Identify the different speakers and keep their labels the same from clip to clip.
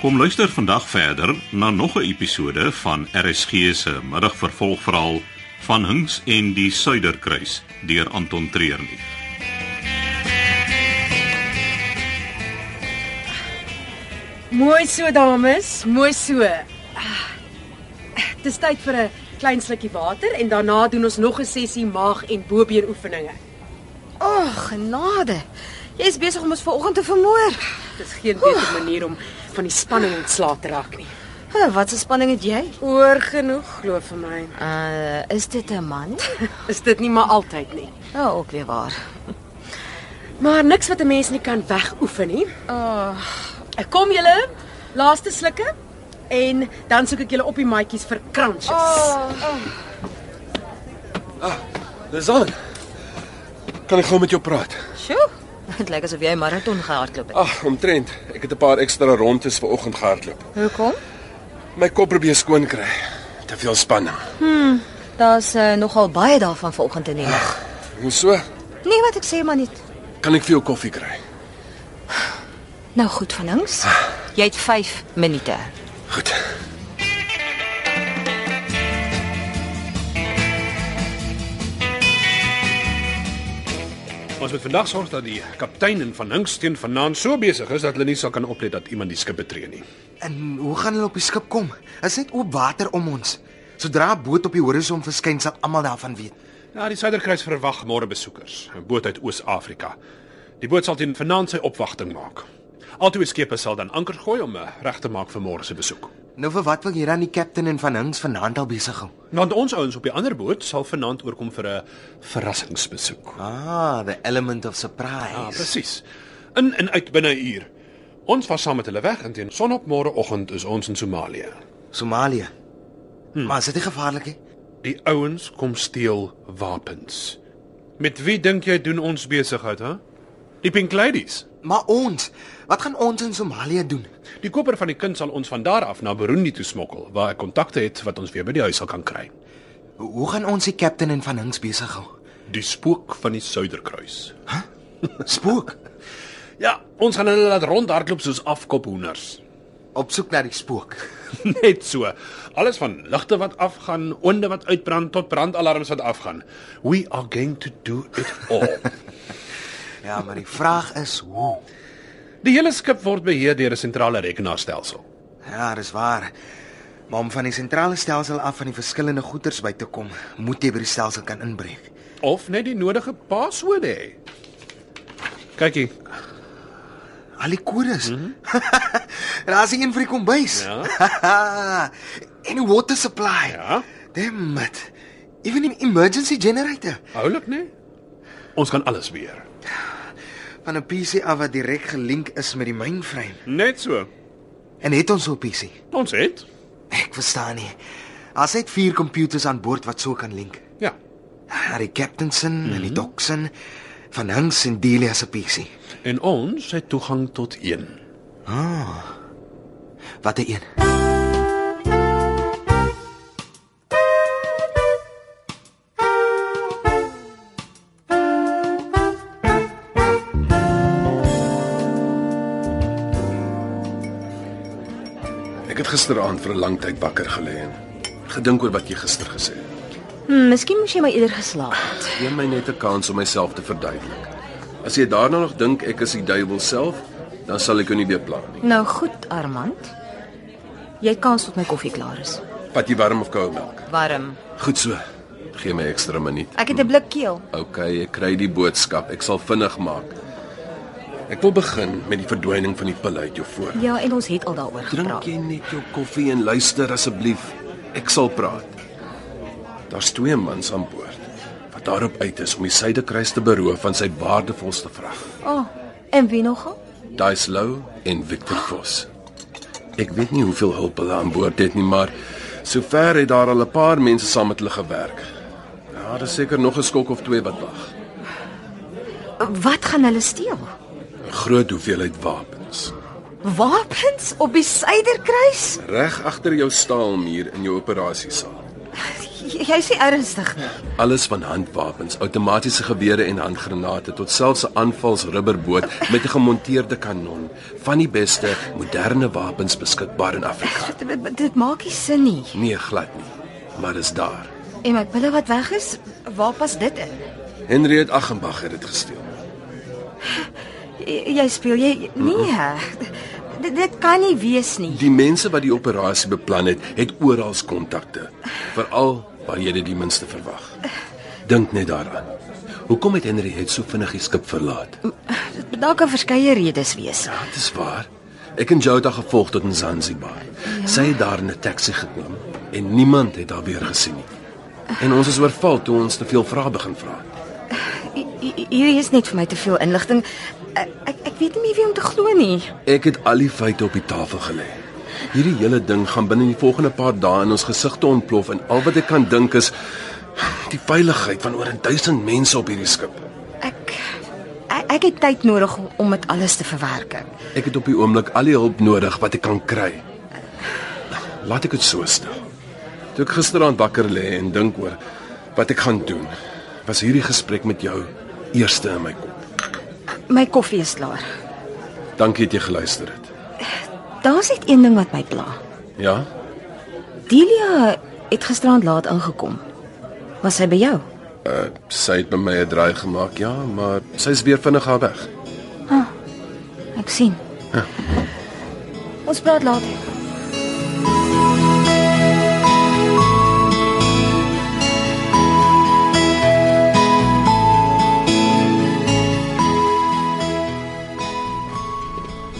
Speaker 1: Kom luister vandag verder na nog 'n episode van RSG se middagvervolgverhaal van Hinks en die Suiderkruis deur Anton Treurnig.
Speaker 2: Mooi so dames, mooi so. Ah, Dis tyd vir 'n klein slukkie water en daarna doen ons nog 'n sessie maag en bobeen oefeninge.
Speaker 3: O, oh, genade. Jy's besig om ons vanoggend te vermoor.
Speaker 2: Dis geen beter manier om van die spanning ontslae te raak nie.
Speaker 3: Huh, wat 'n spanning het jy?
Speaker 2: Oor genoeg, glo vir my.
Speaker 3: Uh, is dit 'n man?
Speaker 2: Is dit nie maar altyd nie.
Speaker 3: Ja, oh, ook weer waar.
Speaker 2: Maar niks wat 'n mens nie kan wegoefen nie.
Speaker 3: O,
Speaker 2: Ah.
Speaker 3: oh,
Speaker 2: Kom julle, laaste slukke en dan soek ek julle op die maatjies vir kransjes. Ah.
Speaker 4: Dis al. Kan ek gou met jou praat?
Speaker 3: sjoe. Dit lyk asof jy 'n maraton gehardloop het.
Speaker 4: Ag, omtrent. Ek het 'n paar ekstra rondes vanoggend gehardloop.
Speaker 3: Hoekom?
Speaker 4: My kop probeer skoon kry. Te veel spanning.
Speaker 3: Daar's uh, nogal baie daarvan vanoggend in die lug.
Speaker 4: Hoe so?
Speaker 3: Nee, wat ek sê maar net.
Speaker 4: Kan ek vir jou koffie kry?
Speaker 3: Nou goed van ons. Jy het 5 minute.
Speaker 4: Goed.
Speaker 5: Ons moet vandag sorg dat die kaptein en van Hinks teen vanaand so besig is dat hulle nie sal kan oplet dat iemand die skip betree nie.
Speaker 6: En hoe gaan hulle op die skip kom? Is net oop water om ons. Sodra 'n boot op die horison verskyn, sal almal daarvan weet.
Speaker 5: Ja, die Suiderkruis verwag môre besoekers, 'n boot uit Oos-Afrika. Die boot sal teen vanaand sy opwagting maak. Altoe skepe sal dan anker gooi om eh, reg te maak vir môre se besoek.
Speaker 6: Nou vir wat wil jy dan die kaptein en van Hinks vanaand al besig hou?
Speaker 5: Want ons ouens op die ander boot sal vanaand oorkom vir 'n verrassingsbesoek.
Speaker 6: Ah, the element of surprise.
Speaker 5: Ja, presies. In en uit binne 'n uur. Ons was saam met hulle weg en teen sonop môreoggend is ons in Somalië.
Speaker 6: Somalië. Hmm. Maar is dit nie gevaarlik nie?
Speaker 5: Die ouens kom steel wapens. Met wie dink jy doen ons besigheid, hè? Die Pink Ladies.
Speaker 6: Maar ons, wat gaan ons in Somalië doen?
Speaker 5: Die koper van die kind sal ons van daar af na Burundi toe smokkel waar ek kontakte het wat ons weer by die huis sal kan kry.
Speaker 6: Hoe- Hoe gaan ons die kaptein en van Hinks besig hou?
Speaker 5: Die spook van die Suiderkruis.
Speaker 6: Spook.
Speaker 5: Ja, ons gaan hulle laat rondhardloop soos afkophoenders.
Speaker 6: op soek na die spook.
Speaker 5: Net so. Alles van ligte wat afgaan, onde wat uitbrand tot brandalarms wat afgaan. We are going to do it all.
Speaker 6: Ja, maar die vraag is hoe.
Speaker 5: die hele skip word beheer deur 'n sentrale rekenaarstelsel.
Speaker 6: Ja, dis waar. Maar om van die sentrale stelsel af van die verskillende goederes by te kom, moet jy by die stelsel kan inbreek.
Speaker 5: Of net die nodige paswoorde hê. Kykie.
Speaker 6: Al die kodes. Mm -hmm. Daar's een vir die kombuis. Ja. en die water supply.
Speaker 5: Ja.
Speaker 6: Damn it. Even 'n emergency generator
Speaker 5: Oulik, né? Ons kan alles weer.
Speaker 6: van 'n PC af wat direk gelink is met die mainframe.
Speaker 5: Net so.
Speaker 6: En het ons so 'n PC?
Speaker 5: Ons het.
Speaker 6: Ek verstaan nie. As dit vier komputers aan boord wat so kan link.
Speaker 5: Ja.
Speaker 6: Daar die Captainson mm -hmm. en die Doxon van Hinks en Delia se PC.
Speaker 5: En ons het toegang tot een.
Speaker 6: Wat 'n een.
Speaker 4: Ek het gisteraand vir 'n lang tyd wakker gelê en gedink oor wat jy gister gesê het.
Speaker 3: Hm, miskien moes jy maar eerder geslaap het.
Speaker 4: Gee my net 'n kans om myself te verduidelik. As jy daarna nog dink ek is die duiwel self, dan sal ek jou nie weer pla nie.
Speaker 3: Nou goed, Armand. Jy het kans tot my koffie klaar is.
Speaker 4: Vat jy warm of koue melk?
Speaker 3: Warm.
Speaker 4: Goed so. Gee my ekstra minuut.
Speaker 3: Ek het 'n blik keel.
Speaker 4: OK, ek kry die boodskap. Ek sal vinnig maak. Ek wil begin met die verdwyning van die pille uit jou voor.
Speaker 3: Ja, en ons het al daaroor
Speaker 4: Drink
Speaker 3: gepraat.
Speaker 4: jy net jou koffie en luister asseblief. Ek sal praat. Daar's twee mans aan boord wat daarop uit is om die Suidekruis te beroof van sy waardevolste vrag.
Speaker 3: O, oh, en wie nogal?
Speaker 4: Daislou en Victor Vos. Ek weet nie hoeveel hulp hulle aan boord het nie, maar sover het daar al 'n paar mense saam met hulle gewerk. Ja, daar's seker nog 'n skok of twee wat wag.
Speaker 3: Wat gaan hulle steel?
Speaker 4: 'n Groot hoeveelheid wapens.
Speaker 3: Wapens op die Suiderkruis?
Speaker 4: Reg agter jou staalmuur in jou operasiesaal.
Speaker 3: J- Jy's nie ernstig nie.
Speaker 4: Alles van handwapens, outomatiese gewere en handgranate tot selfs 'n aanvalsrubberboot met 'n gemonteerde kanon, van die beste moderne wapens beskikbaar in Afrika.
Speaker 3: Dit, dit, dit maak nie sin nie.
Speaker 4: Nee, glad nie, maar is daar.
Speaker 3: En my pille wat weg is, waar pas dit in?
Speaker 4: Henriet Aggenbach het dit gesteel.
Speaker 3: J- Jy speel jy nee. Dit, dit kan nie wees nie.
Speaker 4: Die mense wat die operasie beplan het, het oral kontakte, veral waar jy dit die minste verwag. Dink net daaraan. Hoekom het Henriet so vinnig die skip verlaat?
Speaker 3: Dit dalk kan verskeie redes wees.
Speaker 4: Ja, dit is waar. Ek en Jouda gevolg tot in Zanzibar. Ja. Sy het daar 'n taxi geneem en niemand het haar weer gesien nie. En ons is oorval toe ons te veel vrae begin vra.
Speaker 3: Hi- hi- Hierdie is net vir my te veel inligting. Ek ek, ek weet nie meer wie om te glo nie.
Speaker 4: Ek het al die feite op die tafel gelê. Hierdie hele ding gaan binne die volgende paar dae in ons gesigte ontplof en al wat ek kan dink is die veiligheid van oor 1000 mense op hierdie skip.
Speaker 3: Ek ek, ek het tyd nodig om- om dit alles te verwerk.
Speaker 4: Ek het op die oomblik al die hulp nodig wat ek kan kry. Laat ek dit so stel. Toe ek gisteraand wakker lê en dink oor wat ek gaan doen, was hierdie gesprek met jou eerste in my kop.
Speaker 3: My koffie is klaar.
Speaker 4: Dankie dat jy geluister het.
Speaker 3: Daar's net een ding wat my pla.
Speaker 4: Ja?
Speaker 3: Delia het gisterand laat aangekom. Was sy by jou?
Speaker 4: Uh, sy het by my 'n draai gemaak, ja, maar sy's weer vinnig haar weg.
Speaker 3: Ek sien. Ons praat later.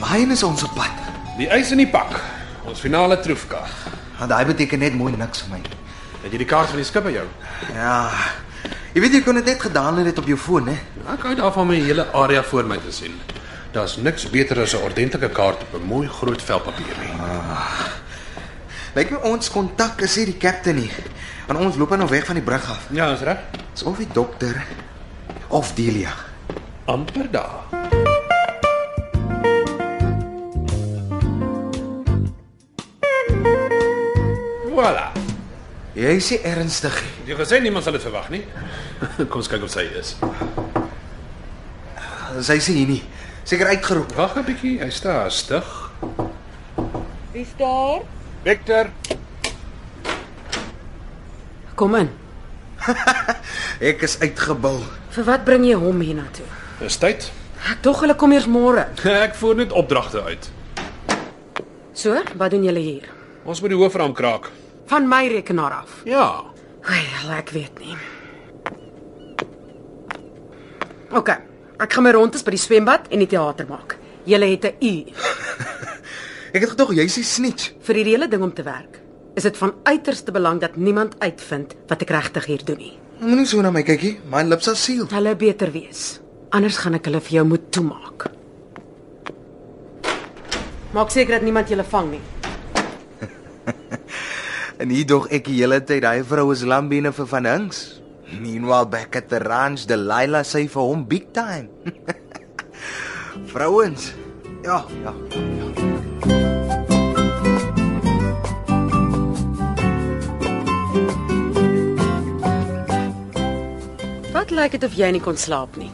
Speaker 6: Waarheen is ons op pad?
Speaker 5: Die ys in die pak. Ons finale troefka.
Speaker 6: Want Nou, daai beteken net mooi niks vir my.
Speaker 5: Het jy die kaart van die skip by jou?
Speaker 6: Ja. Jy weet jy kon dit net gedaan het op jou foon, hè?
Speaker 5: Ek hou daarvan om die hele area voor my te sien. Daar's niks beter as 'n ordentlike kaart op 'n mooi groot vel papier nie.
Speaker 6: Lyk my ons kontak is hier die kaptein nie. En ons loop nou weg van die brug af.
Speaker 5: Ja, is reg.
Speaker 6: Dis of die dokter of Delia.
Speaker 5: Amper daar. Voilà.
Speaker 6: Jy sê ernstig. hè?
Speaker 5: Jy gesê niemand sal dit verwag nie. Kom ons kyk of sy is.
Speaker 6: Sy sê hier nie. Seker uitgeroep.
Speaker 5: Wag 'n bietjie, hy staan stig.
Speaker 2: Wie's daar?
Speaker 5: Victor,
Speaker 2: Kom in.
Speaker 6: Ek is uitgebul.
Speaker 2: Vir wat bring jy hom hiernatoe?
Speaker 5: is tyd.
Speaker 2: Ek dog hulle kom eers môre.
Speaker 5: Ek voer net opdragte uit.
Speaker 2: So, wat doen julle hier?
Speaker 5: Ons moet die hoofraam kraak.
Speaker 2: Van my rekenaar af.
Speaker 5: Ja.
Speaker 2: Wel, ek weet nie. OK. Ek gaan my rondes by die swembad en die teater maak. Julle het 'n uur
Speaker 6: Ek het gedog jy sê snitch.
Speaker 2: vir hierdie hele ding om te werk. Is dit van uiterste belang dat niemand uitvind wat ek regtig hier doen nie.
Speaker 6: Moenie so na my kykie. My lips is sealed.
Speaker 2: Hulle beter wees. Anders gaan ek hulle vir jou moet toemaak. Maak seker dat niemand julle vang nie.
Speaker 6: En hier dog ek die hele tyd daai vrou is lambine vir van Hinks. Meanwhile back at the ranch, Delilah sê vir hom big time. Vrouens. Ja, ja.
Speaker 2: Wat lyk dit of jy nie kon slaap nie?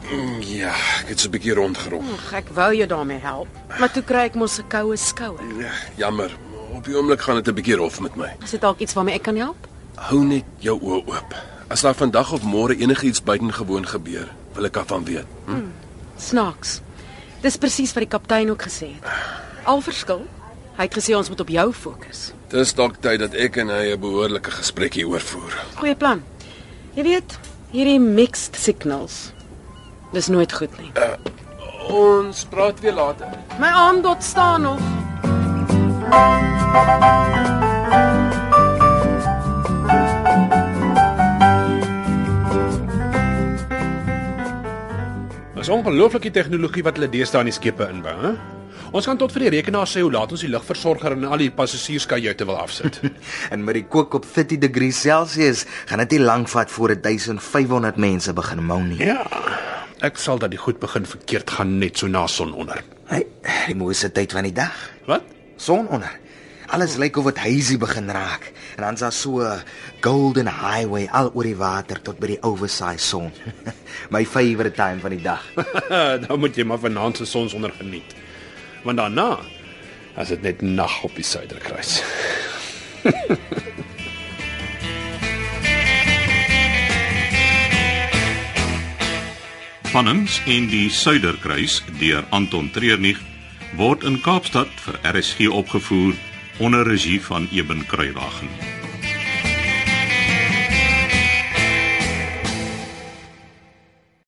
Speaker 4: Ja, ek het so 'n bietjie rondgerol.
Speaker 2: Ag, ek wou jou daarmee help, maar toe kry ek mos 'n koue skouer.
Speaker 4: Ja, jammer. Op die oomblik gaan dit 'n bietjie rof met my.
Speaker 2: Is dit dalk iets waarmee ek kan help?
Speaker 4: Hou net jou oë oop. As daar vandag of môre enigiets buitengewoon gebeur, wil ek daarvan weet.
Speaker 2: Snaaks. Dis presies wat die kaptein ook gesê het. Al verskil. Hy het gesê ons moet op jou fokus.
Speaker 4: Dis dalk tyd dat ek en hy 'n behoorlike gesprek hieroor voer.
Speaker 2: Goeie plan. Jy weet, hierdie mixed signals. Dis nooit goed nie.
Speaker 4: Ons praat weer later.
Speaker 2: My aanbod staan nog.
Speaker 5: Dis ongelooflik die tegnologie wat hulle deesdae aan die skepe inbou, hè? Ons kan tot vir die rekenaar sê hoe laat ons die ligversorger en al die passasierskajuite wil afsit.
Speaker 6: En met die kook op 30 degrees Celsius gaan dit nie lank vat voor 1500 mense begin mou nie.
Speaker 5: ja. Ek sal dat die goed begin verkeerd gaan net so na sononder.
Speaker 6: Hey, die mooiste tyd van die dag,
Speaker 5: Wat?
Speaker 6: sononder. Alles lyk of dit hazy begin raak en dan's daar so 'n golden highway al oor die water tot by die oversized son. My favourite time van die dag.
Speaker 5: dan moet jy maar vanaand se sonsonder geniet. Want daarna as dit net nag op die suiderkruis.
Speaker 1: Van Hinks en die Suiderkruis deur Anton Treurnig word in Kaapstad vir RSG opgevoer onder regie van Eben Kruiwagen.